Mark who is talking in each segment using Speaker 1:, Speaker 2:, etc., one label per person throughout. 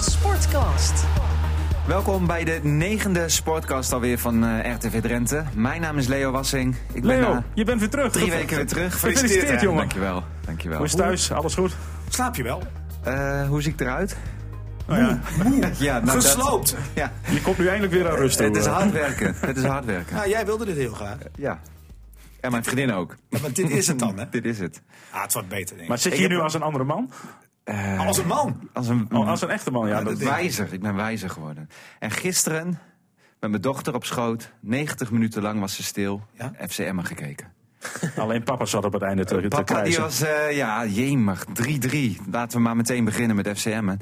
Speaker 1: Sportcast.
Speaker 2: Welkom bij de negende sportcast alweer van eh, RTV Drenthe. Mijn naam is Leo Wassing. Ik ben
Speaker 3: Leo,
Speaker 2: na
Speaker 3: je bent weer terug.
Speaker 2: drie weken weer terug.
Speaker 3: Gefeliciteerd,
Speaker 2: hè.
Speaker 3: jongen.
Speaker 2: Dankjewel. Dankjewel.
Speaker 3: Hoe is het thuis? Alles goed?
Speaker 4: Slaap je wel?
Speaker 2: Eh, hoe zie ik eruit?
Speaker 3: Nou ja,
Speaker 2: Ja, nou dat-
Speaker 4: Gesloopt!
Speaker 2: ja,
Speaker 3: je komt nu eindelijk weer aan rust toe.
Speaker 2: het is
Speaker 3: eh.
Speaker 2: hard werken. Het is hard werken.
Speaker 4: Nou, jij wilde dit heel graag.
Speaker 2: Ja. En mijn vriendin ook.
Speaker 4: Ja, maar dit is het dan, hè?
Speaker 2: Dit is het.
Speaker 4: Ah, het wordt beter, denk ik.
Speaker 3: Maar zit je
Speaker 2: Ik
Speaker 3: hier
Speaker 2: heb-
Speaker 3: nu als een andere man?
Speaker 4: Maar als een man.
Speaker 2: Als een,
Speaker 3: Oh, als een echte man, ja.
Speaker 2: Ja,
Speaker 3: dat-
Speaker 4: denk ik.
Speaker 2: wijzer. Ik ben wijzer geworden. En gisteren, met mijn dochter op schoot, 90 minuten lang was ze stil,
Speaker 4: Ja?
Speaker 2: FCM gekeken.
Speaker 3: Alleen papa zat op het einde te, te
Speaker 2: Papa die
Speaker 3: krijsen.
Speaker 2: was, eh, ja, jemig, 3-3. Laten we maar meteen beginnen met FCM.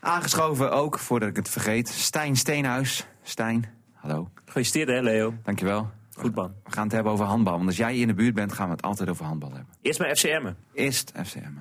Speaker 2: Aangeschoven ook, voordat ik het vergeet, Stijn Steenhuis. Stijn, hallo,
Speaker 5: Gefeliciteerd hè Leo.
Speaker 2: dankjewel.
Speaker 5: Goed man.
Speaker 2: We gaan het hebben over handbal, want als jij hier in de buurt bent, gaan we het altijd over handbal hebben.
Speaker 5: Eerst maar FCM'en.
Speaker 2: Eerst FCM.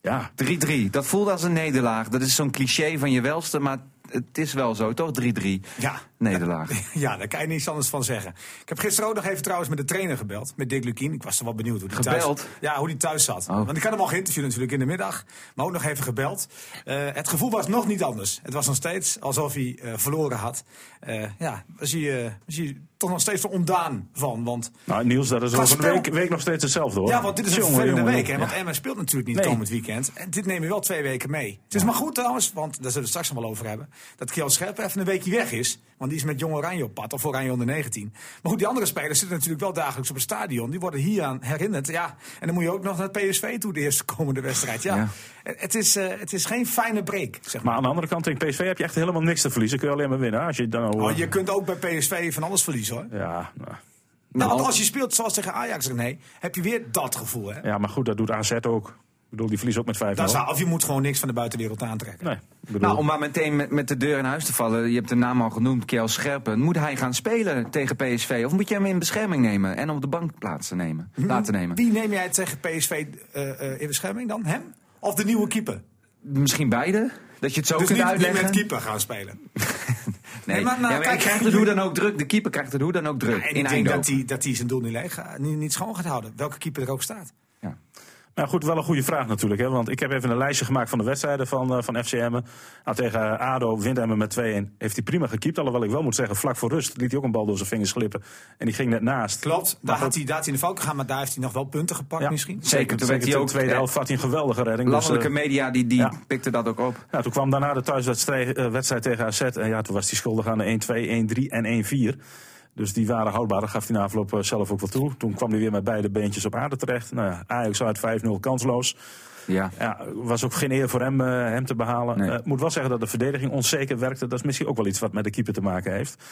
Speaker 3: Ja,
Speaker 2: 3-3, dat voelde als een nederlaag. Dat is zo'n cliché van je welste, maar het is wel zo, toch? 3-3,
Speaker 4: Ja.
Speaker 2: nederlaag.
Speaker 4: ja, daar kan je niets anders van zeggen. Ik heb gisteren ook nog even trouwens met de trainer gebeld. Met Dick Lukien. Ik was er wel benieuwd hoe die
Speaker 2: Gebeld?
Speaker 4: thuis... Ja, hoe die thuis zat. Want ik had hem al geïnterviewd natuurlijk in de middag. Maar ook nog even gebeld. Eh, het gevoel was nog niet anders. Het was nog steeds alsof hij eh, verloren had. Eh, ja, was hij, eh, was hij toch nog steeds er ontdaan van. Want,
Speaker 3: nou, Niels, dat is
Speaker 4: Qua
Speaker 3: over een week,
Speaker 4: spel-
Speaker 3: week nog steeds hetzelfde hoor.
Speaker 4: ja, want dit is een
Speaker 3: Jongen,
Speaker 4: vervelende
Speaker 3: jongen,
Speaker 4: week. Hè,
Speaker 3: jongen.
Speaker 4: want Emma speelt natuurlijk niet
Speaker 3: Nee.
Speaker 4: komend weekend. En dit nemen we wel twee weken mee. Het is maar goed trouwens, want daar zullen we het straks nog wel over hebben. Dat Kjell Scherp even een weekje weg is. Want die is met Jong Oranje op pad, of Oranje onder 19. Maar goed, die andere spelers zitten natuurlijk wel dagelijks op het stadion. Die worden hieraan herinnerd. Ja, en dan moet je ook nog naar het PSV toe, de eerste komende wedstrijd. Ja,
Speaker 2: Ja.
Speaker 4: Het, het is, eh, het is geen fijne break, zeg maar.
Speaker 3: Maar aan de andere kant, tegen PSV heb je echt helemaal niks te verliezen. Kun je alleen maar winnen. Als je dan al,
Speaker 4: Oh, je kunt ook bij PSV van alles verliezen hoor.
Speaker 3: Ja, nou.
Speaker 4: Nou, want als je speelt zoals tegen Ajax, René, heb je weer dat gevoel. Hè?
Speaker 3: ja, maar goed, dat doet AZ ook. Ik bedoel, die verliezen ook met 5-0.
Speaker 4: Dat is waar, of je moet gewoon niks van de buitenwereld aantrekken.
Speaker 3: Nee, ik bedoel,
Speaker 2: Nou, om maar meteen met, met de deur in huis te vallen. Je hebt de naam al genoemd, Kjell Scherpen. Moet hij gaan spelen tegen PSV? Of moet je hem in bescherming nemen en op de bank plaatsen nemen, laten nemen?
Speaker 4: Hm? Wie neem jij tegen PSV eh, eh, in bescherming dan? Hem? Of de nieuwe keeper?
Speaker 2: Misschien beide? Dat je het zo
Speaker 4: dus
Speaker 2: kunt
Speaker 4: niet, niet
Speaker 2: uitleggen?
Speaker 4: met keeper gaan spelen.
Speaker 2: Nee,
Speaker 4: Nee,
Speaker 2: maar,
Speaker 4: maar- maar
Speaker 2: ja, maar hij
Speaker 4: kijk,
Speaker 2: krijgt het hoe dan ook druk. De keeper krijgt het hoe dan ook druk.
Speaker 4: en
Speaker 2: in
Speaker 4: ik denk
Speaker 2: Eindhoven.
Speaker 4: dat hij dat hij zijn doel niet, leeg, gaat- niet, niet schoon gaat houden. Welke keeper er ook staat.
Speaker 2: Ja.
Speaker 3: Nou goed, wel een goede vraag natuurlijk. Hè? Want ik heb even een lijstje gemaakt van de wedstrijden van, eh, van FCM. Nou, tegen ADO wint Emmen met 2-1. Heeft hij prima gekiept. Alhoewel ik wel moet zeggen, vlak voor rust liet hij ook een bal door zijn vingers glippen. En die ging net naast.
Speaker 4: Klopt, daar
Speaker 2: Nou,
Speaker 3: Maar
Speaker 4: had,
Speaker 3: goed,
Speaker 4: hij, daar had hij in de fout gegaan, maar daar heeft hij nog wel punten gepakt
Speaker 3: Ja.
Speaker 4: misschien.
Speaker 2: Zeker, toen
Speaker 3: Zeker
Speaker 2: werd hij
Speaker 3: in
Speaker 2: ook...
Speaker 3: de tweede
Speaker 2: eh,
Speaker 3: helft vat hij een geweldige redding. Dus, eh,
Speaker 2: Landelijke media die, die
Speaker 3: ja.
Speaker 2: pikte dat ook op.
Speaker 3: nou, toen kwam daarna de thuiswedstrijd eh, wedstrijd tegen AZ. En ja, toen was hij schuldig aan de 1-2, 1-3 en 1-4. Dus die waren houdbaar. Dat gaf hij na afloop eh, zelf ook wel toe. Toen kwam hij weer met beide beentjes op aarde terecht. Nou ja, Ajax uit 5-0 kansloos.
Speaker 2: Ja.
Speaker 3: Ja, was ook geen eer voor hem, eh, hem te behalen.
Speaker 2: Nee.
Speaker 3: Eh, moet wel zeggen dat de verdediging onzeker werkte. Dat is misschien ook wel iets wat met de keeper te maken heeft.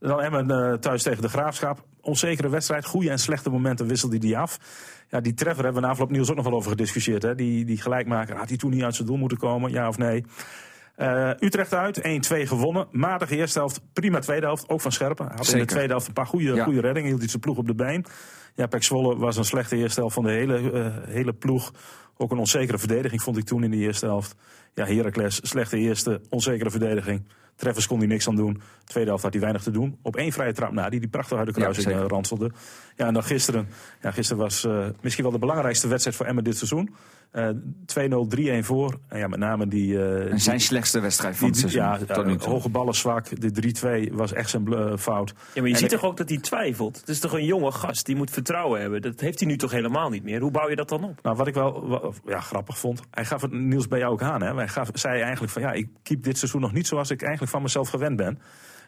Speaker 3: Dan Emmen eh, thuis tegen de Graafschap. Onzekere wedstrijd. Goede en slechte momenten wisselde die af. Ja, die treffer hebben we na afloop Niels ook nog wel over gediscussieerd. Hè? Die, die gelijkmaker, had hij toen niet uit zijn doel moeten komen? Ja of nee? Eh, Utrecht uit, 1-2 gewonnen. Matige eerste helft, prima tweede helft. Ook van Scherpen. Had in
Speaker 2: Zeker.
Speaker 3: de tweede helft een paar goede,
Speaker 2: Ja.
Speaker 3: goede reddingen. Hield hij zijn ploeg op de been. Ja, Pek Zwolle was een slechte eerste helft van de hele, eh, hele ploeg. Ook een onzekere verdediging vond ik toen in de eerste helft. Ja, Heracles, slechte eerste, onzekere verdediging. Treffers kon hij niks aan doen. Tweede helft had hij weinig te doen. Op één vrije trap na, die die prachtig uit de kruising
Speaker 2: zeker.
Speaker 3: eh, ranselde. Ja, en dan gisteren. Ja, gisteren was eh, misschien wel de belangrijkste wedstrijd voor Emmen dit seizoen. Eh 2-0, 3-1 voor. En ja, met name die... eh,
Speaker 2: En zijn slechtste wedstrijd van
Speaker 3: die,
Speaker 2: het
Speaker 3: die-
Speaker 2: seizoen.
Speaker 3: ja,
Speaker 2: tot nu
Speaker 3: eh,
Speaker 2: toe.
Speaker 3: hoge ballen zwak. De 3-2 was echt zijn eh, fout.
Speaker 5: Ja, maar je
Speaker 3: En
Speaker 5: ziet
Speaker 3: de-
Speaker 5: toch ook dat hij twijfelt. Het is toch een jonge gast, die moet vertrouwen hebben. Dat heeft hij nu toch helemaal niet meer. Hoe bouw je dat dan op?
Speaker 3: Nou, wat ik wel wa- ja, grappig vond, hij gaf het Niels bij jou ook aan. Hè? Hij gaf, zei eigenlijk van ja, ik keep dit seizoen nog niet zoals ik eigenlijk van mezelf gewend ben.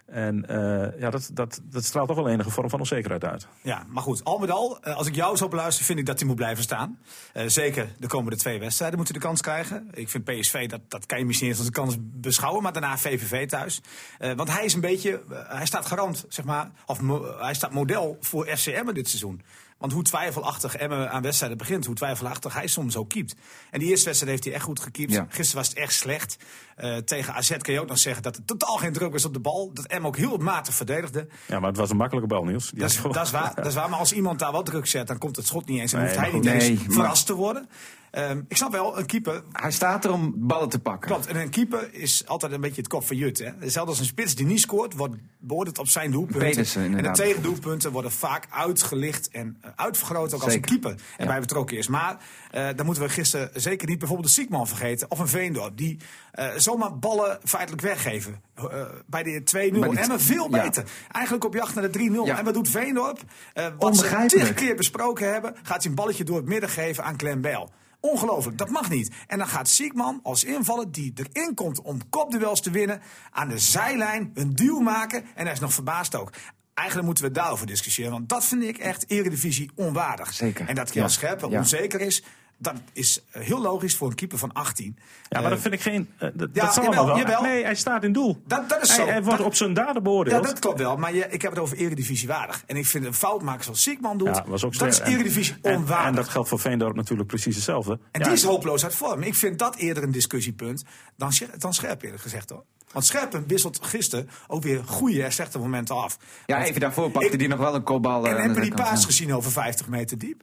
Speaker 3: En eh, ja, dat, dat, dat straalt toch wel enige vorm van onzekerheid uit.
Speaker 4: Ja, maar goed, al met al, eh, als ik jou zou beluisteren, vind ik dat hij moet blijven staan. Eh, zeker de komende twee wedstrijden moeten de kans krijgen. Ik vind PSV, dat, dat kan je misschien eens als een kans beschouwen, maar daarna VVV thuis. Eh, want hij is een beetje, eh, hij staat garant, zeg maar, of mo- hij staat model voor FC Emmen dit seizoen. Want hoe twijfelachtig Emmen aan wedstrijden begint, hoe twijfelachtig hij soms ook keept. En die eerste wedstrijd heeft hij echt goed gekiept.
Speaker 2: Ja.
Speaker 4: Gisteren was het echt slecht. Eh, tegen AZ kan je ook nog zeggen dat er totaal geen druk was op de bal. Dat Emmen ook heel matig verdedigde.
Speaker 3: Ja, maar het was een makkelijke bal, Niels. Die
Speaker 4: Dat is,
Speaker 3: had gewoon-
Speaker 4: dat, is waar, dat is waar, maar als iemand daar wat druk zet, dan komt het schot niet eens. En
Speaker 3: Nee,
Speaker 4: hoeft hij
Speaker 3: maar
Speaker 4: niet
Speaker 2: goed.
Speaker 4: eens
Speaker 2: Nee, maar-
Speaker 4: verrast te worden. Ehm, ik snap wel, een keeper
Speaker 2: Hij staat er om ballen te pakken.
Speaker 4: Klopt, en een keeper is altijd een beetje het kop van Jut. Hè? Zelfs als een spits die niet scoort, wordt beoordeeld op zijn doelpunten.
Speaker 2: Pedersen,
Speaker 4: en de
Speaker 2: inderdaad.
Speaker 4: tegendoelpunten worden vaak uitgelicht en eh, uitvergroot, ook als een
Speaker 2: Zeker.
Speaker 4: keeper
Speaker 2: Ja.
Speaker 4: erbij betrokken is. Maar eh dan moeten we gisteren zeker niet bijvoorbeeld de Siekman vergeten of een Veendorp, die eh, zomaar ballen feitelijk weggeven. Eh, bij de 2-0.
Speaker 2: Bij die-
Speaker 4: Emmen veel
Speaker 2: ja.
Speaker 4: beter. Eigenlijk op jacht naar de 3-0.
Speaker 2: Ja.
Speaker 4: En wat doet Veendorp? Eh wat ze
Speaker 2: Onbegrijpelijk.
Speaker 4: tig keer besproken hebben, gaat hij een balletje door het midden geven aan Clem Bell. Ongelooflijk, dat mag niet. En dan gaat Siekman als invaller die erin komt om kopduels te winnen, aan de zijlijn een duw maken. En hij is nog verbaasd ook. Eigenlijk moeten we daarover discussiëren, want dat vind ik echt Eredivisie onwaardig.
Speaker 2: Zeker.
Speaker 4: En dat Kiel
Speaker 2: Ja.
Speaker 4: Scherpen
Speaker 2: Ja.
Speaker 4: onzeker is, dat is eh, heel logisch voor een keeper van 18.
Speaker 3: Ja, maar dat vind ik geen. eh, dat,
Speaker 4: ja,
Speaker 3: dat zal
Speaker 4: jawel,
Speaker 3: allemaal wel.
Speaker 4: jawel.
Speaker 3: Nee, hij staat in doel.
Speaker 4: Dat- dat is
Speaker 3: hij,
Speaker 4: zo.
Speaker 3: hij wordt
Speaker 4: Dat-
Speaker 3: op zijn daden
Speaker 4: Ja,
Speaker 3: beoordeeld.
Speaker 4: dat klopt wel, maar je, ik heb het over Eredivisie waardig. En ik vind een fout maken zoals Siekman doet,
Speaker 3: Ja, was ook
Speaker 4: dat is
Speaker 3: slecht. En-
Speaker 4: Eredivisie
Speaker 3: en-
Speaker 4: onwaardig.
Speaker 3: En, dat geldt voor Veendorp natuurlijk precies hetzelfde.
Speaker 4: En
Speaker 3: Ja,
Speaker 4: die is hopeloos uit vorm. Ik vind dat eerder een discussiepunt dan, Scher- dan Scherp eerlijk gezegd hoor. Want Scherpen wisselt gisteren ook weer goede en slechte momenten af.
Speaker 2: Ja,
Speaker 4: Want-
Speaker 2: even daarvoor pakte
Speaker 4: Ik-
Speaker 2: hij nog wel een kopbal. eh,
Speaker 4: En
Speaker 2: aan
Speaker 4: heb
Speaker 2: de
Speaker 4: je die
Speaker 2: zijkant.
Speaker 4: paas
Speaker 2: Ja.
Speaker 4: gezien over 50 meter diep?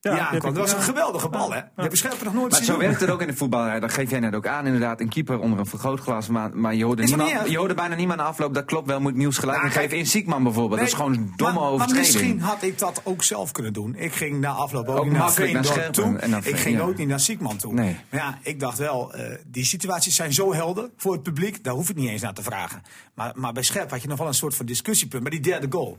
Speaker 3: ja,
Speaker 4: Ja,
Speaker 3: die heb
Speaker 4: Anton,
Speaker 3: ik-
Speaker 4: dat was een
Speaker 3: ja.
Speaker 4: geweldige bal hè. Dat hebben Scherpen nog nooit
Speaker 2: Maar
Speaker 4: zien
Speaker 2: zo
Speaker 4: doen.
Speaker 2: werkt het ook in de voetballerij. Dat geef jij net ook aan. Inderdaad, een keeper onder een vergrootglas. Maar, maar je, hoorde
Speaker 4: Is dat
Speaker 2: niemand,
Speaker 4: niet erg?
Speaker 2: je hoorde bijna niemand aan afloop. Dat klopt wel, moet nieuws gelijk.
Speaker 4: Nou,
Speaker 2: En geef
Speaker 4: kijk-
Speaker 2: in Siekman bijvoorbeeld. dat is
Speaker 4: Nee,
Speaker 2: gewoon een domme
Speaker 4: maar, maar
Speaker 2: overtreding.
Speaker 4: misschien had ik dat ook zelf kunnen doen. Ik ging na afloop ook,
Speaker 2: Ook
Speaker 4: niet naar
Speaker 2: makkelijk naar
Speaker 4: Veendorp
Speaker 2: Scherpen
Speaker 4: toe.
Speaker 2: en naar
Speaker 4: ik
Speaker 2: Veen,
Speaker 4: ging
Speaker 2: ja.
Speaker 4: ook niet naar Siekman toe.
Speaker 2: Nee.
Speaker 4: Maar ja, ik dacht wel, eh, die situaties zijn zo helder voor het publiek. Daar hoef ik niet eens naar te vragen. Maar, maar bij Scherp had je nog wel een soort van discussiepunt. Maar die derde goal.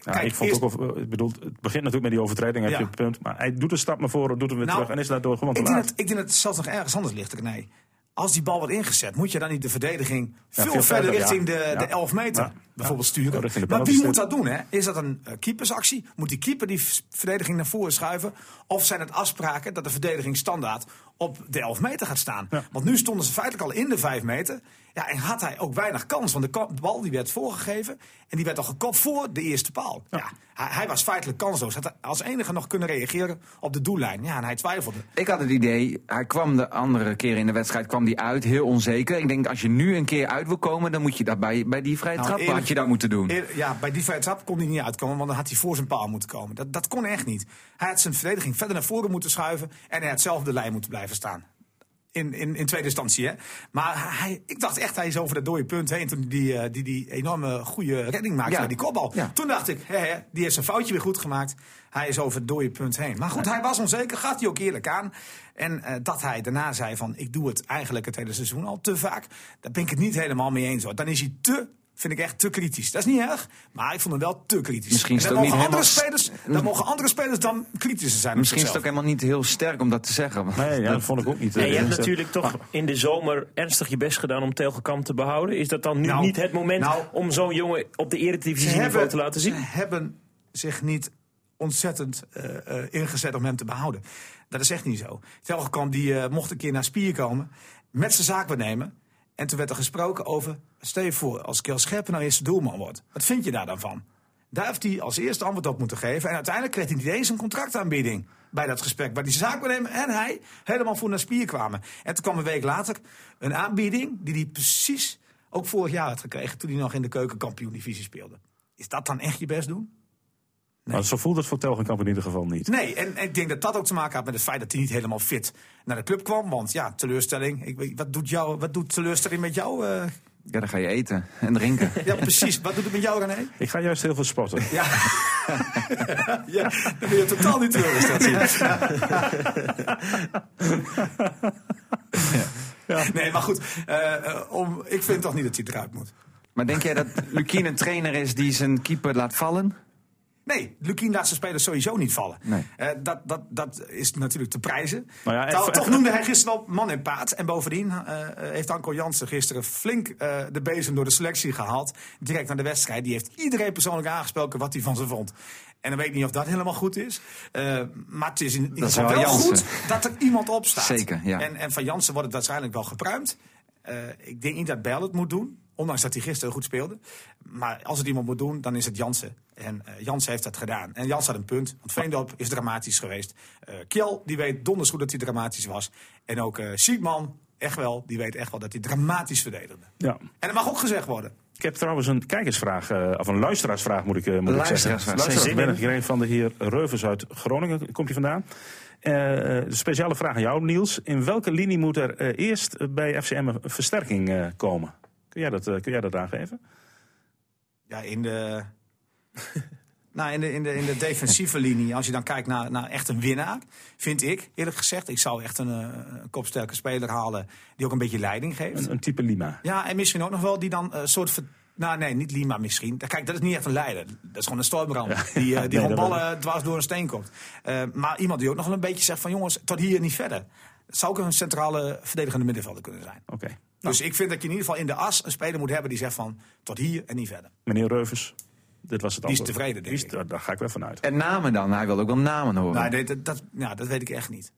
Speaker 3: Ja,
Speaker 4: Kijk,
Speaker 3: ik vond
Speaker 4: eerst-
Speaker 3: ook, of- eh, ik bedoel, het begint natuurlijk met die overtreding, heb
Speaker 4: Ja.
Speaker 3: je het punt. Maar hij doet een stap naar voren, doet hem weer
Speaker 4: Nou,
Speaker 3: terug en is daardoor gewoon te
Speaker 4: ik denk,
Speaker 3: laat.
Speaker 4: dat, ik denk dat het zelfs nog ergens anders ligt. Nee. Als die bal wordt ingezet, moet je dan niet de verdediging veel,
Speaker 3: veel
Speaker 4: verder
Speaker 3: verder, ja.
Speaker 4: richting de, de
Speaker 3: Ja.
Speaker 4: 11 meter
Speaker 3: Ja.
Speaker 4: bijvoorbeeld
Speaker 3: Ja.
Speaker 4: sturen.
Speaker 3: Ja, richting de
Speaker 4: maar wie moet
Speaker 3: penaltystip.
Speaker 4: dat doen? Hè? Is dat een eh, keepersactie? Moet die keeper die v- verdediging naar voren schuiven? Of zijn het afspraken dat de verdediging standaard op de 11 meter gaat staan? Want nu stonden ze feitelijk al in de 5 meter. Ja, en had hij ook weinig kans, want de ka- bal die werd voorgegeven en die werd al gekopt voor de eerste paal. Ja. hij, hij was feitelijk kansloos. Had als enige nog kunnen reageren op de doellijn. Ja, en hij twijfelde.
Speaker 2: Ik had het idee, hij kwam de andere keer in de wedstrijd kwam die uit, heel onzeker. Ik denk, als je nu een keer uit wil komen, dan moet je dat bij, bij die vrije
Speaker 4: Nou,
Speaker 2: trap
Speaker 4: eerlijk-
Speaker 2: had je dat moeten doen.
Speaker 4: Eer- Eh, Ja, bij die vrije trap kon hij niet uitkomen, want dan had hij voor zijn paal moeten komen. Dat, dat kon echt niet. Hij had zijn verdediging verder naar voren moeten schuiven en hij had zelf op de lijn moeten blijven staan. In, in, in tweede instantie, hè. Maar hij, ik dacht echt, hij is over dat dode punt heen toen hij die, eh, die, die enorme goede redding maakte
Speaker 2: Ja.
Speaker 4: bij die kopbal.
Speaker 2: Ja.
Speaker 4: Toen dacht ik, hè, hè, die heeft zijn foutje weer goed gemaakt. Hij is over het dode punt heen. Maar goed, hij was onzeker, gaat hij ook eerlijk aan. En eh, dat hij daarna zei van, ik doe het eigenlijk het hele seizoen al te vaak. Daar ben ik het niet helemaal mee eens. Hoor. Dan is hij te, vind ik echt te kritisch. Dat is niet erg, maar ik vond hem wel te kritisch.
Speaker 2: Misschien is
Speaker 4: En
Speaker 2: het
Speaker 4: dan
Speaker 2: ook
Speaker 4: mogen
Speaker 2: niet
Speaker 4: andere
Speaker 2: helemaal-
Speaker 4: spelers, Dan mogen andere spelers dan kritischer zijn op
Speaker 2: Misschien is het ook
Speaker 4: zichzelf.
Speaker 2: helemaal niet heel sterk om dat te zeggen. want
Speaker 3: Nee, ja, dat vond ik ook niet. eh,
Speaker 5: Nee, Ah. je hebt
Speaker 3: dus, eh,
Speaker 5: natuurlijk toch in de zomer ernstig je best gedaan om Telgekamp te behouden. Is dat dan nu
Speaker 4: Nou,
Speaker 5: niet het moment
Speaker 4: nou,
Speaker 5: om zo'n jongen op de
Speaker 4: Ze
Speaker 5: eredivisie niveau
Speaker 4: hebben-
Speaker 5: te laten zien?
Speaker 4: Ze hebben zich niet ontzettend eh, eh, ingezet om hem te behouden. Dat is echt niet zo. Telgekamp die eh, mocht een keer naar Spier komen, met zijn zaak benemen. En toen werd er gesproken over, stel je voor, als Kjell Scherpen nou eerste doelman wordt. Wat vind je daar dan van? Daar heeft hij als eerste antwoord op moeten geven. En uiteindelijk kreeg hij niet eens een contractaanbieding bij dat gesprek. Waar die zaakwaarnemer en hij helemaal voor naar spier kwamen. En toen kwam een week later een aanbieding die hij precies ook vorig jaar had gekregen. Toen hij nog in de keukenkampioen-divisie speelde. Is dat dan echt je best doen?
Speaker 3: Maar zo voelt het voor Telgenkamp in ieder geval niet.
Speaker 4: Nee, en, en ik denk dat dat ook te maken had met het feit dat hij niet helemaal fit naar de club kwam. Want ja, teleurstelling. Ik, weet- wat, doet jou, wat doet teleurstelling met jou? eh?
Speaker 2: Ja, dan ga je eten en drinken.
Speaker 4: ja, precies. Wat doet het met jou, René?
Speaker 3: Ik ga juist heel veel sporten.
Speaker 4: Ja. ja, dan ben je totaal niet teleurgesteld. zie je. Nee, maar goed. eh, eh, om, ik vind toch niet dat hij eruit moet.
Speaker 2: maar denk jij dat Lukien een trainer is die zijn keeper laat vallen?
Speaker 4: Nee, Lukien laat zijn spelers sowieso niet vallen.
Speaker 2: Nee.
Speaker 4: Eh, dat, dat, dat is natuurlijk te prijzen.
Speaker 3: Nou ja, en-
Speaker 4: Toch- toch noemde hij gisteren al man en paard. En bovendien eh, eh, heeft Anko Jansen gisteren flink eh, de bezem door de selectie gehaald. Direct naar de wedstrijd. Die heeft iedereen persoonlijk aangesproken wat hij van ze vond. En dan weet ik niet of dat helemaal goed is. Eh, maar het is in ieder
Speaker 2: is
Speaker 4: geval
Speaker 2: wel
Speaker 4: wel
Speaker 2: Jansen.
Speaker 4: goed dat er iemand opstaat.
Speaker 2: Zeker, ja.
Speaker 4: En, en van Jansen wordt het waarschijnlijk wel gepruimd. Eh, ik denk niet dat Bijl het moet doen. Ondanks dat hij gisteren goed speelde. Maar als het iemand moet doen, dan is het Jansen. En eh, Jansen heeft dat gedaan. En Jansen had een punt. Want Veendorp is dramatisch geweest. Eh Kjell, die weet donders goed dat hij dramatisch was. En ook eh Siegman, echt wel. Die weet echt wel dat hij dramatisch verdedigde.
Speaker 3: Ja.
Speaker 4: En dat mag ook gezegd worden.
Speaker 3: Ik heb trouwens een kijkersvraag, eh, of een luisteraarsvraag moet ik, eh, moet ik zeggen.
Speaker 2: Luisteraarsvraag,
Speaker 3: Luisteraars,
Speaker 2: zin
Speaker 3: ik ben een van de heer Reuvers uit Groningen, komt hij vandaan. Eh, eh, speciale vraag aan jou, Niels. In welke linie moet er eh, eerst eh, bij FCM een versterking eh, komen? Kun jij, dat, eh, kun jij dat aangeven?
Speaker 4: Ja, in de. Nou, in de, in, de, in de defensieve linie, als je dan kijkt naar, naar echt een winnaar, vind ik, eerlijk gezegd, ik zou echt een eh, kopsterke speler halen die ook een beetje leiding geeft.
Speaker 3: Een, een type Lima.
Speaker 4: Ja, en misschien ook nog wel die dan eh, soort van. Nou, nee, niet Lima misschien. Kijk, dat is niet echt een leider. Dat is gewoon een stormram. die eh,
Speaker 3: nee,
Speaker 4: die gewoon
Speaker 3: dat
Speaker 4: ballen dwars door een steen komt. Eh, maar iemand die ook nog wel een beetje zegt van jongens, tot hier niet verder. Het zou ook een centrale verdedigende middenvelder kunnen zijn.
Speaker 3: Oké.
Speaker 4: Dus ik vind dat je in ieder geval in de as een speler moet hebben die zegt van tot hier en niet verder.
Speaker 3: Meneer Reuvers, dit was het
Speaker 4: Die is
Speaker 3: antwoord.
Speaker 4: tevreden, denk
Speaker 3: Die is-
Speaker 4: ik.
Speaker 3: daar- Daar ga ik wel van uit.
Speaker 2: En namen dan? Hij wil ook wel namen horen.
Speaker 4: Nou, dat, dat, dat- ja, dat weet ik echt niet.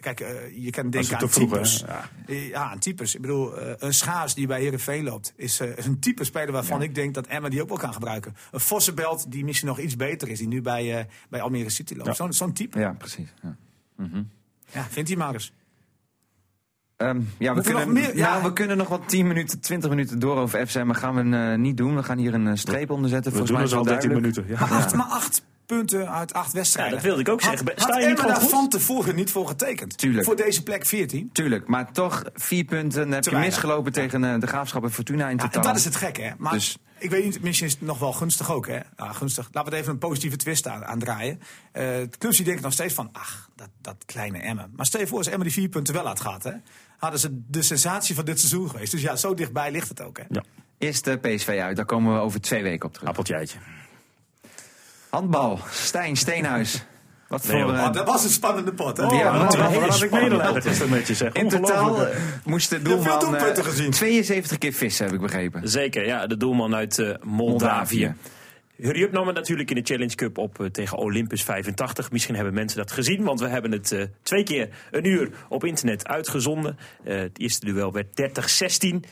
Speaker 4: Kijk, eh, je kan
Speaker 3: is
Speaker 4: denken
Speaker 3: te
Speaker 4: aan
Speaker 3: vroeg, hè?
Speaker 4: types.
Speaker 3: Ja.
Speaker 4: Eh, Ja, aan types. Ik bedoel, eh, een schaars die bij Herenveen loopt, is, eh, is een type speler waarvan ik denk dat Emma die ook wel kan gebruiken. Een Vossenbelt die misschien nog iets beter is, die nu bij, eh, bij Almere City loopt.
Speaker 3: Ja.
Speaker 4: Zo'n zo'n type.
Speaker 2: Ja, precies. Ja.
Speaker 4: Ja, vindt hij maar eens.
Speaker 2: Ehm, ja, we
Speaker 4: Moeten we
Speaker 2: kunnen,
Speaker 4: nog meer- ja.
Speaker 2: nou, we kunnen nog wat 10 minuten, 20 minuten door over FCM. Maar gaan we eh, niet doen. We gaan hier een eh, streep onder zetten.
Speaker 3: We
Speaker 2: Volgens
Speaker 3: doen
Speaker 2: mij
Speaker 3: dus
Speaker 2: is
Speaker 3: al
Speaker 2: wel
Speaker 3: 13
Speaker 2: duidelijk.
Speaker 3: minuten. Ja.
Speaker 4: Maar, acht, maar acht punten uit acht wedstrijden.
Speaker 5: Ja, dat wilde ik ook zeggen.
Speaker 4: Had,
Speaker 5: Sta
Speaker 4: had
Speaker 5: je niet
Speaker 4: Emma
Speaker 5: gewoon
Speaker 4: daar
Speaker 5: goed?
Speaker 4: van tevoren niet voor getekend?
Speaker 2: Tuurlijk.
Speaker 4: Voor deze plek 14?
Speaker 2: Tuurlijk, maar toch vier punten heb
Speaker 4: Te
Speaker 2: je
Speaker 4: weinig.
Speaker 2: misgelopen tegen eh, de Graafschap en Fortuna in
Speaker 4: Ja,
Speaker 2: totaal.
Speaker 4: en dat is het gek, hè? Maar
Speaker 2: Dus-
Speaker 4: ik weet niet, misschien is het nog wel gunstig ook, hè? Nou, gunstig. Laten we er even een positieve twist aan, aan draaien. Eh clubs die denken nog steeds van, ach, dat, dat kleine Emmen. Maar stel je voor, als Emmen die vier punten wel had gehad, hè? Hadden ze de sensatie van dit seizoen geweest. Dus ja, zo dichtbij ligt het ook, hè?
Speaker 3: ja.
Speaker 2: Is de PSV uit, daar komen we over twee weken op terug.
Speaker 3: Appeltje eitje.
Speaker 2: Handbal, Stijn Steenhuis. Wat voor...
Speaker 3: Nee, hoor.
Speaker 2: eh,
Speaker 4: Oh, dat was een spannende pot, hè?
Speaker 2: Oh, Ja,
Speaker 3: Ja,
Speaker 2: wat
Speaker 3: wat
Speaker 2: een hele
Speaker 3: had ik
Speaker 2: spannende
Speaker 3: medelijden gisteren met je zeg.
Speaker 2: in totaal
Speaker 3: Ongelooflijk.
Speaker 2: eh, moest de
Speaker 4: veel
Speaker 2: doelman eh,
Speaker 4: doelpunten gezien.
Speaker 2: 72 keer vissen, heb ik begrepen.
Speaker 5: Zeker, ja, de doelman uit eh, Moldavië. Hurry Up nam het natuurlijk in de Challenge Cup op eh, tegen Olympus 85. Misschien hebben mensen dat gezien, want we hebben het eh, twee keer een uur op internet uitgezonden. Eh, het eerste duel werd 30-16.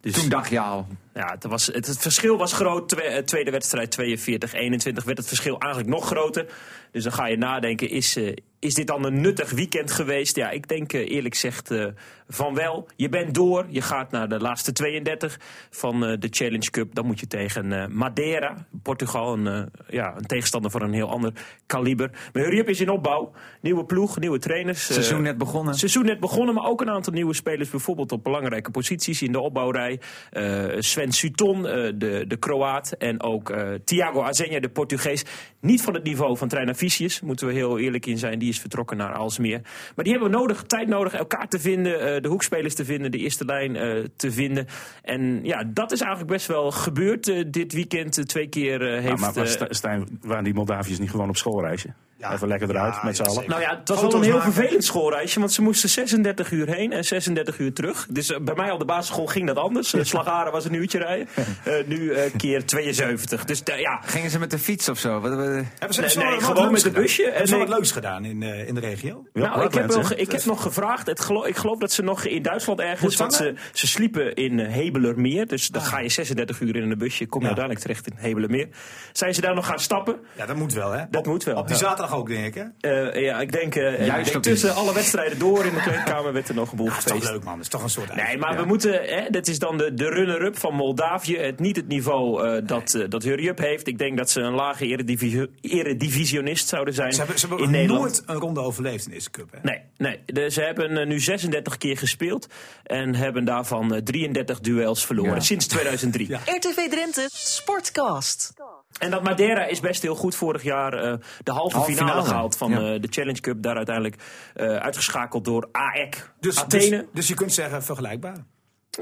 Speaker 5: Dus
Speaker 2: Toen dacht je al,
Speaker 5: ja, het, was, het, het verschil was groot. Twe- eh, tweede wedstrijd 42-21 werd het verschil eigenlijk nog groter. Dus dan ga je nadenken, is, eh, is dit dan een nuttig weekend geweest? Ja, ik denk eh, eerlijk gezegd eh, van wel. Je bent door, je gaat naar de laatste 32 van eh, de Challenge Cup. Dan moet je tegen eh, Madeira, Portugal, een, eh, ja, een tegenstander van een heel ander kaliber. Maar Hurry Up is in opbouw. Nieuwe ploeg, nieuwe trainers. eh,
Speaker 2: seizoen net begonnen.
Speaker 5: het seizoen net begonnen, maar ook een aantal nieuwe spelers. Bijvoorbeeld op belangrijke posities in de opbouwrij. Eh, Sven Suton, eh, de, de Kroaat. En ook eh, Thiago Azenha, de Portugees. Niet van het niveau van trainer Vicius, moeten we heel eerlijk in zijn. Die is vertrokken naar Alsmeer. Maar die hebben we nodig, tijd nodig, elkaar te vinden. eh, de hoekspelers te vinden, de eerste lijn eh, te vinden. En ja, dat is eigenlijk best wel gebeurd eh, dit weekend. Eh, twee keer eh,
Speaker 3: Ja,
Speaker 5: heeft...
Speaker 3: maar was
Speaker 5: eh,
Speaker 3: Sta- Stijn, waren die Moldaviërs niet gewoon op schoolreisje? Even lekker eruit
Speaker 4: Ja,
Speaker 3: met z'n
Speaker 4: ja,
Speaker 3: allen.
Speaker 4: zeker.
Speaker 5: Nou ja, het was
Speaker 4: Foto's
Speaker 5: wel een heel
Speaker 4: maken.
Speaker 5: vervelend schoolreisje, want ze moesten 36 uur heen en 36 uur terug. Dus eh, bij mij op de basisschool ging dat anders. Eh, Slagaren was een uurtje rijden. Eh, nu eh, keer 72. Dus eh, ja,
Speaker 2: Gingen ze met de fiets of zo? Wat, wat-
Speaker 4: Hebben ze
Speaker 5: Nee,
Speaker 4: hebben ze
Speaker 5: nee,
Speaker 4: wel wat
Speaker 5: gewoon
Speaker 4: leuks
Speaker 5: met een
Speaker 4: gedaan?
Speaker 5: busje en
Speaker 4: Hebben ze wel
Speaker 5: ik-
Speaker 4: wat leuks gedaan in, eh, in de regio?
Speaker 3: Ja,
Speaker 5: nou, ik heb,
Speaker 3: Lapland,
Speaker 5: wel
Speaker 3: hè?
Speaker 5: ge- ik heb nog gevraagd. Het gelo- ik geloof dat ze nog in Duitsland ergens.
Speaker 4: Moet
Speaker 5: Want ze,
Speaker 4: vangen?
Speaker 5: ze sliepen in eh, Hebelermeer. Dus dan
Speaker 4: Ah.
Speaker 5: ga je 36 uur in een busje. Kom je
Speaker 4: Ja.
Speaker 5: uiteindelijk terecht in Hebelermeer. Zijn ze daar nog gaan stappen?
Speaker 4: Ja, dat moet wel, hè?
Speaker 5: Dat
Speaker 4: Op-
Speaker 5: moet wel,
Speaker 4: Op die
Speaker 5: ja.
Speaker 4: zaterdag ook, denk ik, hè?
Speaker 5: Eh, ja, ik denk, eh, ik denk
Speaker 2: op die-
Speaker 5: tussen alle wedstrijden door in de kleedkamer werd er nog een boel
Speaker 4: Dat is toch
Speaker 5: gefeest.
Speaker 4: leuk, man. Dat is toch een soort...
Speaker 5: Nee, maar we moeten, hè, dat is dan de, de runner-up van Moldavië. Het, niet het niveau eh, dat, eh, dat Hurry Up heeft. Ik denk dat ze een lage eredivisie- eredivisionist zouden zijn
Speaker 4: Ze hebben, ze hebben
Speaker 5: in
Speaker 4: ook
Speaker 5: Nederland.
Speaker 4: nooit een ronde overleefd in deze cup, hè?
Speaker 5: Nee, nee. De- ze hebben eh, nu 36 keer gespeeld en hebben daarvan eh, 33 duels verloren
Speaker 2: Ja.
Speaker 5: sinds 2003.
Speaker 4: Ja.
Speaker 1: RTV Drenthe Sportcast.
Speaker 5: En dat Madeira is best heel goed. Vorig jaar eh, de halve
Speaker 2: Halve
Speaker 5: finale,
Speaker 2: finale.
Speaker 5: gehaald van
Speaker 2: Ja.
Speaker 5: eh, de Challenge Cup. Daar uiteindelijk eh, uitgeschakeld door AEK
Speaker 4: Dus,
Speaker 5: Athene.
Speaker 4: dus, dus je kunt zeggen vergelijkbaar.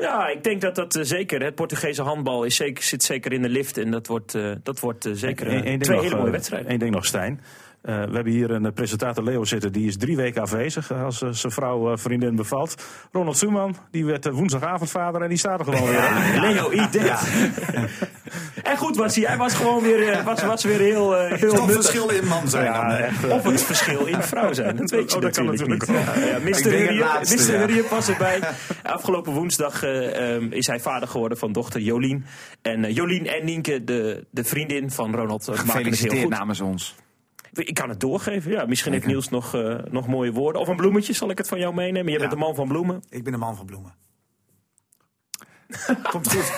Speaker 5: Ja, ik denk dat dat eh, zeker. Het Portugese handbal is zeker, zit zeker in de lift. En dat wordt, eh, dat wordt eh, zeker eh,
Speaker 3: Eén- één ding
Speaker 5: twee
Speaker 3: nog,
Speaker 5: hele mooie
Speaker 3: eh,
Speaker 5: wedstrijden.
Speaker 3: één ding nog, Stijn. Eh, we hebben hier een eh, presentator Leo zitten, die is drie weken afwezig eh, als eh, zijn vrouw eh, vriendin bevalt. Ronald Zuman, die werd eh, woensdagavond vader en die staat er gewoon weer.
Speaker 5: Leo, eat that. En goed was hij. Hij was gewoon weer, eh, was, was weer heel, eh, heel
Speaker 4: Toch
Speaker 5: nuttig.
Speaker 4: verschil in man zijn dan. hè?
Speaker 5: Of het verschil in vrouw zijn. Dat weet je
Speaker 3: eh. Oh, dat kan
Speaker 5: natuurlijk niet.
Speaker 3: natuurlijk
Speaker 5: Ja, ja, Mr.
Speaker 2: denk het
Speaker 5: Hurriep-
Speaker 2: laatste,
Speaker 5: Mr.
Speaker 2: ja.
Speaker 5: Hurriep was erbij. Afgelopen woensdag eh, ehm, is hij vader geworden van dochter Jolien. En eh, Jolien en Nienke, de, de vriendin van Ronald, eh, maken het heel
Speaker 2: Gefeliciteerd
Speaker 5: goed.
Speaker 2: namens ons.
Speaker 5: Ik kan het doorgeven. Ja, misschien heeft Niels nog, eh, nog mooie woorden. Of een bloemetje zal ik het van jou meenemen. Je bent de man van bloemen.
Speaker 4: Ik ben een man van bloemen. Komt goed.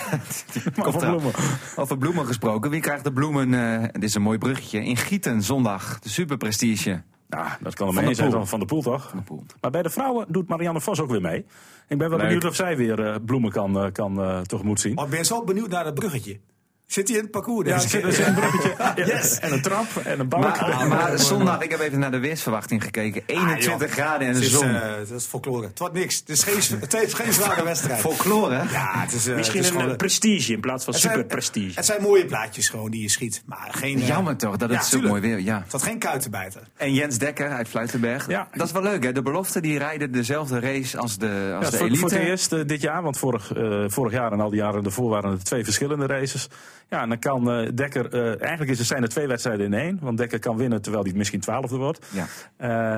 Speaker 3: Maar van Bloemen.
Speaker 2: Over bloemen gesproken. Wie krijgt de bloemen? eh, dit is een mooi bruggetje. In Gieten zondag. De superprestige.
Speaker 3: Nou, dat kan
Speaker 2: Van
Speaker 3: er maar
Speaker 2: de
Speaker 3: één zijn
Speaker 2: Poel.
Speaker 3: dan van de poel, toch?
Speaker 2: de Poel.
Speaker 3: Maar bij de vrouwen doet Marianne Vos ook weer mee. Ik ben wel
Speaker 2: Leuk.
Speaker 3: benieuwd of zij weer eh, bloemen kan, eh, kan eh, tegemoet zien.
Speaker 4: Maar ik ben zo benieuwd naar dat bruggetje. Zit hij in het parcours?
Speaker 3: Ja,
Speaker 4: deze
Speaker 3: er zit, er
Speaker 4: keer?
Speaker 3: zit een bruggetje. En een trap en een balk.
Speaker 2: Ah, Maar, maar zondag, ik heb even naar de weersverwachting gekeken. 21
Speaker 4: Ah, joh.
Speaker 2: graden en de
Speaker 4: Het is,
Speaker 2: zon.
Speaker 4: eh, dat is folklore. Het wordt niks. Het is geen, het is geen zware wedstrijd.
Speaker 2: Folklore, hè?
Speaker 4: Ja, het is, eh,
Speaker 5: Misschien
Speaker 4: het is
Speaker 5: een
Speaker 4: gewoon-
Speaker 5: eh, prestige in plaats van
Speaker 4: het zijn-
Speaker 5: superprestige.
Speaker 4: Het zijn mooie plaatjes gewoon die je schiet. Maar geen, eh,
Speaker 2: Jammer toch, dat
Speaker 4: ja,
Speaker 2: het zo
Speaker 4: tuurlijk.
Speaker 2: mooi weer ja.
Speaker 4: Het had geen kuitenbijter.
Speaker 2: En Jens Dekker uit Fluitenberg.
Speaker 3: Ja.
Speaker 2: Dat is wel leuk, hè? De belofte, die rijden dezelfde race als de, als
Speaker 3: Ja,
Speaker 2: de
Speaker 3: voor,
Speaker 2: elite.
Speaker 3: voor het eerst eh, dit jaar, want vorig, eh, vorig jaar en al die jaren ervoor waren er twee verschillende races. Ja, en dan kan eh, Dekker, eh, eigenlijk is het, zijn er twee wedstrijden in één. Want Dekker kan winnen terwijl hij misschien twaalfde wordt.
Speaker 2: Ja.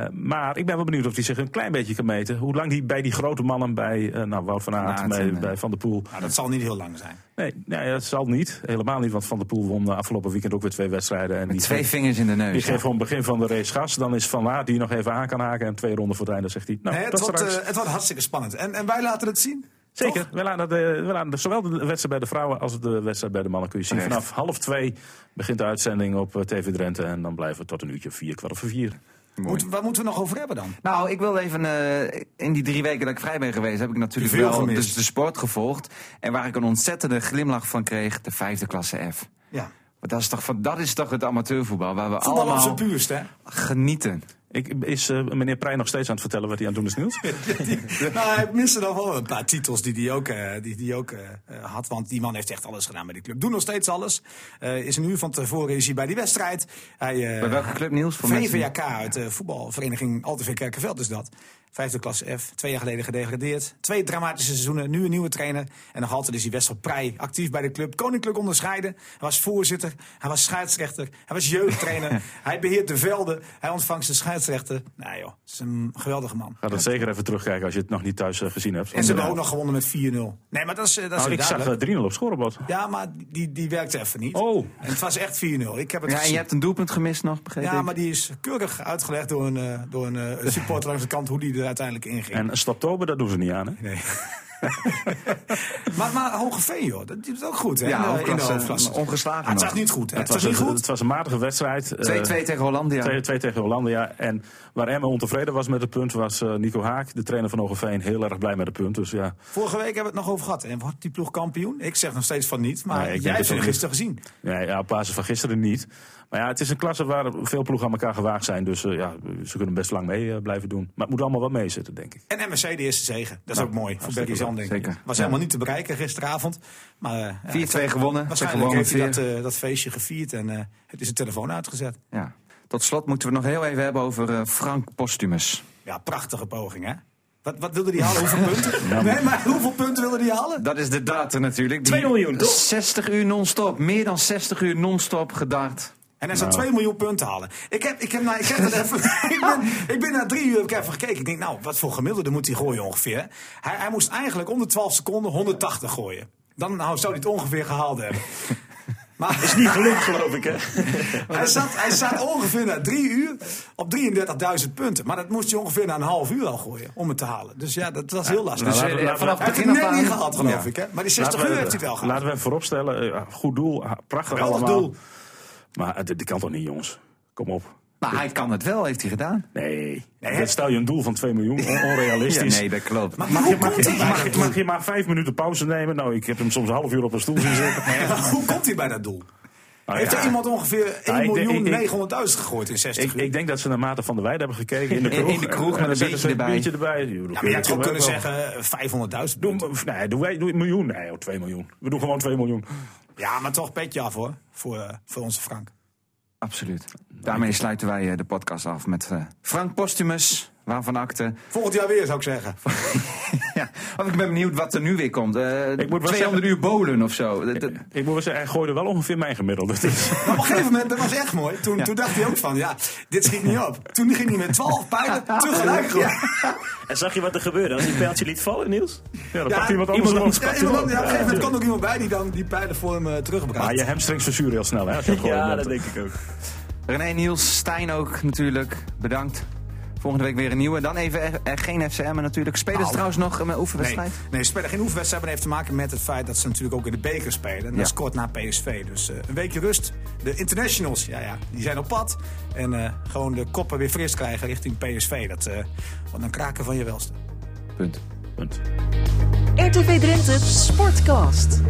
Speaker 3: Eh, maar ik ben wel benieuwd of hij zich een klein beetje kan meten. Hoe lang hij bij die grote mannen, bij eh, nou, Wout van Aert,
Speaker 2: Aert
Speaker 3: bij,
Speaker 2: en, eh,
Speaker 3: bij Van der Poel.
Speaker 4: Nou, dat zal niet heel lang zijn.
Speaker 3: Nee, nee, dat zal niet. Helemaal niet, want Van der Poel won eh, afgelopen weekend ook weer twee wedstrijden. En die
Speaker 2: Twee vingers in de
Speaker 3: die
Speaker 2: neus.
Speaker 3: geeft gewoon begin van de race gas. Dan is Van Aert die nog even aan kan haken. En twee ronden voor het einde zegt hij. Nou,
Speaker 4: Nee, het,
Speaker 3: tot
Speaker 4: wordt,
Speaker 3: straks.
Speaker 4: eh, het wordt hartstikke spannend. En, en wij laten het zien.
Speaker 3: Zeker.
Speaker 4: Toch?
Speaker 3: We laten, de, we laten de- zowel de wedstrijd bij de vrouwen als de wedstrijd bij de mannen kun je zien.
Speaker 2: Terecht.
Speaker 3: Vanaf half twee begint de uitzending op eh, TV Drenthe. En dan blijven we tot een uurtje of vier, kwart voor vier.
Speaker 2: Mooi.
Speaker 4: Moet, waar moeten we nog over hebben dan?
Speaker 2: Nou, ik wil even. eh, in die drie weken dat ik vrij ben geweest, heb ik natuurlijk
Speaker 4: Veel
Speaker 2: wel
Speaker 4: gemist.
Speaker 2: dus de sport gevolgd. En waar ik een ontzettende glimlach van kreeg, de vijfde klasse F.
Speaker 4: Ja.
Speaker 2: Want dat is toch, van- dat is toch het amateurvoetbal waar we
Speaker 4: Voetbal op zijn
Speaker 2: allemaal
Speaker 4: puurst, hè?
Speaker 2: genieten.
Speaker 3: Ik, is eh, meneer Prij nog steeds aan het vertellen wat hij aan het doen is nieuws?
Speaker 4: nou, hij miste dan wel een paar titels die hij ook, eh, die, die ook eh, eh, had. Want die man heeft echt alles gedaan bij die club. Doet nog steeds alles. Eh, is een uur van tevoren is hij bij die wedstrijd. Hij, eh
Speaker 2: Bij welke club Niels? Voor mensen die-
Speaker 4: VVJK uit de voetbalvereniging Alteveen Kerkenveld is dat. Vijfde klasse F, twee jaar geleden gedegradeerd. Twee dramatische seizoenen, nu een nieuwe trainer. En nog altijd is hij Wessel Prij actief bij de club. Koninklijk onderscheiden. Hij was voorzitter, hij was scheidsrechter, hij was jeugdtrainer. hij beheert de velden, hij ontvangt zijn scheidsrechter. Nou joh, het is een geweldige man.
Speaker 3: Ga dat zeker even terugkijken als je het nog niet thuis eh, gezien hebt.
Speaker 4: En ze hebben ook nog gewonnen met 4-0. Nee, maar dat is, eh, dat is
Speaker 3: Nou,
Speaker 4: weer
Speaker 3: ik zag
Speaker 4: duidelijk.
Speaker 3: eh, 3-0 op scorebord.
Speaker 4: Ja, maar die, die werkte even niet.
Speaker 3: Oh.
Speaker 4: En het was echt 4-0. Ik heb het
Speaker 2: Ja, en
Speaker 4: gezien.
Speaker 2: je hebt een doelpunt gemist nog, begreep
Speaker 4: Ja,
Speaker 2: ik?
Speaker 4: maar die is keurig uitgelegd door een, eh, door een eh, supporter langs de kant hoe die er uiteindelijk inging.
Speaker 3: En stoptober, dat doen ze niet aan. Hè?
Speaker 4: Nee. maar, maar Hogeveen, joh, dat doet het ook goed, hè?
Speaker 2: Ja,
Speaker 4: in de- in de
Speaker 2: hoofdklasse,
Speaker 4: hoofdklasse.
Speaker 2: ongeslagen
Speaker 4: Ah, het was
Speaker 2: nog.
Speaker 4: niet goed, hè? Het
Speaker 3: Het,
Speaker 4: was,
Speaker 3: was een,
Speaker 4: niet goed.
Speaker 3: het was een matige wedstrijd. eh,
Speaker 2: 2-2 tegen Hollandia.
Speaker 3: 2-2 tegen Hollandia. En waar Emma ontevreden was met het punt, was eh, Nico Haak, de trainer van Ogeveen, heel erg blij met het punt. Dus ja,
Speaker 4: Vorige week hebben we het nog over gehad. En wordt die ploeg kampioen? Ik zeg nog steeds van niet, maar
Speaker 3: Nee, ik denk
Speaker 4: jij
Speaker 3: het
Speaker 4: hebt ze
Speaker 3: ook niet.
Speaker 4: gisteren gezien.
Speaker 3: Nee, ja, op basis van gisteren niet. Maar ja, het is een klasse waar veel ploegen aan elkaar gewaagd zijn. Dus eh, ja, ze kunnen best lang mee eh, blijven doen. Maar het moet allemaal wel meezitten, denk ik.
Speaker 4: En MSC de eerste zegen. Dat is ook mooi voor Becky
Speaker 3: hartstikke
Speaker 4: Zanding.
Speaker 2: Zeker.
Speaker 4: Was helemaal niet te bereiken gisteravond. Maar eh, ja,
Speaker 2: 4-2 gewonnen.
Speaker 4: waarschijnlijk heeft hij
Speaker 2: Tegen
Speaker 4: dat,
Speaker 2: Holland
Speaker 4: eh, dat feestje gevierd en eh, het is zijn telefoon uitgezet.
Speaker 2: weer. ja. Tot slot moeten we het nog heel even hebben over eh, Frank Postumus.
Speaker 4: Ja, prachtige poging, hè? Wat, wat wilde die halen? Hoeveel punten? Nee, maar hoeveel punten wilde die halen?
Speaker 2: Dat is de data natuurlijk. Die
Speaker 5: 2 miljoen, toch?
Speaker 2: 60 uur non-stop. Meer dan 60 uur non-stop gedacht.
Speaker 4: En hij zou 2 miljoen punten halen. Ik heb, ik heb, nou, ik heb dat even, ik, ben, ik ben na drie uur heb ik even gekeken. Ik denk, nou, wat voor gemiddelde moet hij gooien ongeveer? Hij, hij moest eigenlijk onder 12 seconden 180 gooien. Dan nou, zou hij het ongeveer gehaald hebben. Maar
Speaker 5: Is niet gelukt, geloof ik, hè?
Speaker 4: hij, zat, hij zat ongeveer na drie uur op 33.000 punten. Maar dat moest hij ongeveer na een half uur al gooien om het te halen. Dus ja, dat was heel lastig.
Speaker 2: Dus, eh,
Speaker 4: hij
Speaker 2: ja, vanaf
Speaker 4: heeft het
Speaker 2: begin af
Speaker 4: net
Speaker 2: aan-
Speaker 4: niet gehaald, geloof
Speaker 2: Ja.
Speaker 4: ik. Hè? Maar die 60 uur
Speaker 3: Laten
Speaker 4: heeft
Speaker 3: we-
Speaker 4: hij het wel gehaald.
Speaker 3: Laten we even vooropstellen, eh, goed doel, ah, prachtig
Speaker 4: Geweldig
Speaker 3: allemaal.
Speaker 4: doel.
Speaker 3: Maar eh, dit dit kan toch niet, jongens? Kom op.
Speaker 2: Maar hij kan het wel, heeft hij gedaan.
Speaker 3: Nee, Dan stel je een doel van 2 miljoen, on-
Speaker 2: Ja,
Speaker 3: onrealistisch.
Speaker 2: nee, dat klopt.
Speaker 4: Maar, hoe
Speaker 3: Mag
Speaker 4: komt
Speaker 3: je,
Speaker 4: hij bij
Speaker 3: mag,
Speaker 4: dat
Speaker 3: je-
Speaker 4: doel?
Speaker 3: mag je maar vijf minuten pauze nemen? Nou, ik heb hem soms een half uur op een stoel zien zitten.
Speaker 4: Maar Hoe komt hij bij dat doel?
Speaker 3: Nou,
Speaker 4: Heeft
Speaker 3: ja.
Speaker 4: er iemand ongeveer 1.900.000
Speaker 3: Nou, ik denk- ik- ik-
Speaker 4: gegooid in 60
Speaker 3: Ik,
Speaker 4: uur?
Speaker 3: ik denk dat ze naar Mate van der Weijden hebben gekeken in de
Speaker 2: In- in
Speaker 3: kroeg.
Speaker 2: de kroeg
Speaker 3: En
Speaker 2: met een
Speaker 3: dan zetten ze
Speaker 2: biertje
Speaker 3: erbij.
Speaker 4: ja, maar je had ook kunnen
Speaker 3: zeggen.
Speaker 4: zeggen eh, 500.000.
Speaker 3: Doe, hem- nee, doe, wij- doe een miljoen. Nee, joh, 2 miljoen. We doen gewoon 2 miljoen.
Speaker 4: Ja, maar toch petje af hoor, voor, eh, voor onze Frank.
Speaker 2: Absoluut. Daarmee sluiten wij eh, de podcast af met eh, Frank Postumus. Waarvan akte.
Speaker 4: Volgend jaar weer zou ik zeggen.
Speaker 2: Ja, of ik ben benieuwd wat er nu weer komt. Eh
Speaker 3: moet wel
Speaker 2: 200 uur bolen of zo. Dat- dat-
Speaker 3: Ik moet wel zeggen, hij gooide wel ongeveer mijn gemiddelde. Dus,
Speaker 4: Maar op een gegeven moment, dat was echt mooi. Toen, toen dacht hij ook van, ja, dit schiet niet op. Toen ging hij met 12 pijlen tegelijk gooien.
Speaker 5: En zag je wat er gebeurde als die pijltje liet vallen, Niels?
Speaker 3: ja, dan
Speaker 4: Ja,
Speaker 3: pakt iemand anders
Speaker 5: iemand
Speaker 3: hem
Speaker 5: anders
Speaker 3: op.
Speaker 4: Ja, iemand, ja, op een gegeven moment kwam ook iemand bij die dan die pijlen voor hem eh,
Speaker 3: Maar
Speaker 4: terugbrengt.
Speaker 3: je hamstrings verzuren heel snel, hè? Als je het gooit.
Speaker 5: Ja, dat denk ik ook.
Speaker 2: René, Niels, Stijn ook natuurlijk. Bedankt. Volgende week weer een nieuwe. Dan even er, geen FCM natuurlijk. Spelen ze
Speaker 4: Au.
Speaker 2: trouwens nog een
Speaker 4: Nee,
Speaker 2: oefenwedstrijd?
Speaker 4: nee, ze spelen geen oefenwedstrijd, maar dat heeft te maken met het feit dat ze natuurlijk ook in de beker spelen. En
Speaker 2: Ja.
Speaker 4: dat is kort na PSV. Dus eh, een weekje rust. De internationals, ja, ja, die zijn op pad. En eh, gewoon de koppen weer fris krijgen richting PSV. Dat, eh wat een kraken van je welste.
Speaker 2: Punt.
Speaker 3: Punt.
Speaker 1: RTV Drenthe Sportcast.